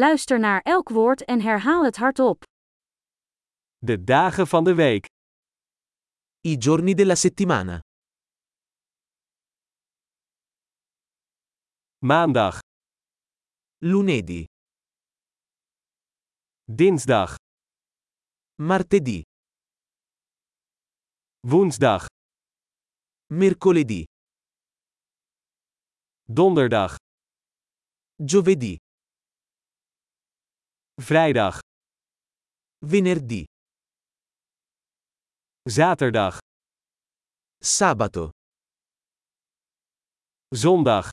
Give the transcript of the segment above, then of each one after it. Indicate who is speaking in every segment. Speaker 1: Luister naar elk woord en herhaal het hardop.
Speaker 2: De dagen van de week.
Speaker 3: I giorni della settimana.
Speaker 2: Maandag,
Speaker 3: Lunedì,
Speaker 2: dinsdag,
Speaker 3: martedì,
Speaker 2: woensdag,
Speaker 3: mercoledì,
Speaker 2: donderdag,
Speaker 3: giovedì,
Speaker 2: vrijdag,
Speaker 3: venerdì,
Speaker 2: zaterdag,
Speaker 3: sabato,
Speaker 2: zondag.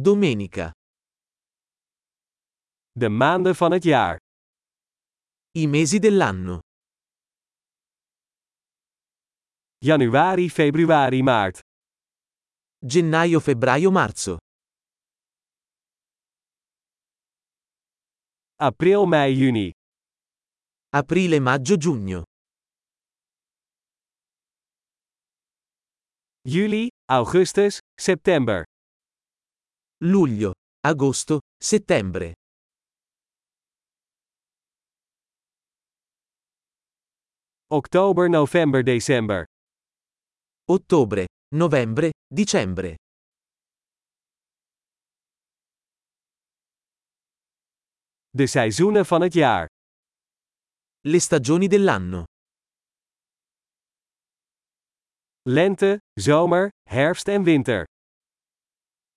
Speaker 3: domenica.
Speaker 2: De maanden van het jaar.
Speaker 3: I mesi dell'anno.
Speaker 2: Januari, februari, maart.
Speaker 3: Gennaio, febbraio, marzo.
Speaker 2: April, mei, juni.
Speaker 3: Aprile, maggio, giugno.
Speaker 2: Juli, augustus, september.
Speaker 3: Luglio, agosto, settembre.
Speaker 2: Oktober, november, december.
Speaker 3: Ottobre, novembre, dicembre.
Speaker 2: De seizoenen van het jaar.
Speaker 3: Le stagioni dell'anno.
Speaker 2: Lente, zomer, herfst en winter.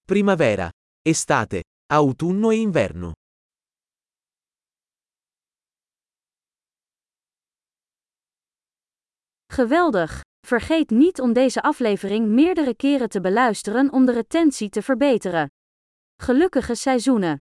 Speaker 3: Primavera, estate, autunno e inverno.
Speaker 1: Geweldig! Vergeet niet om deze aflevering meerdere keren te beluisteren om de retentie te verbeteren. Gelukkige seizoenen!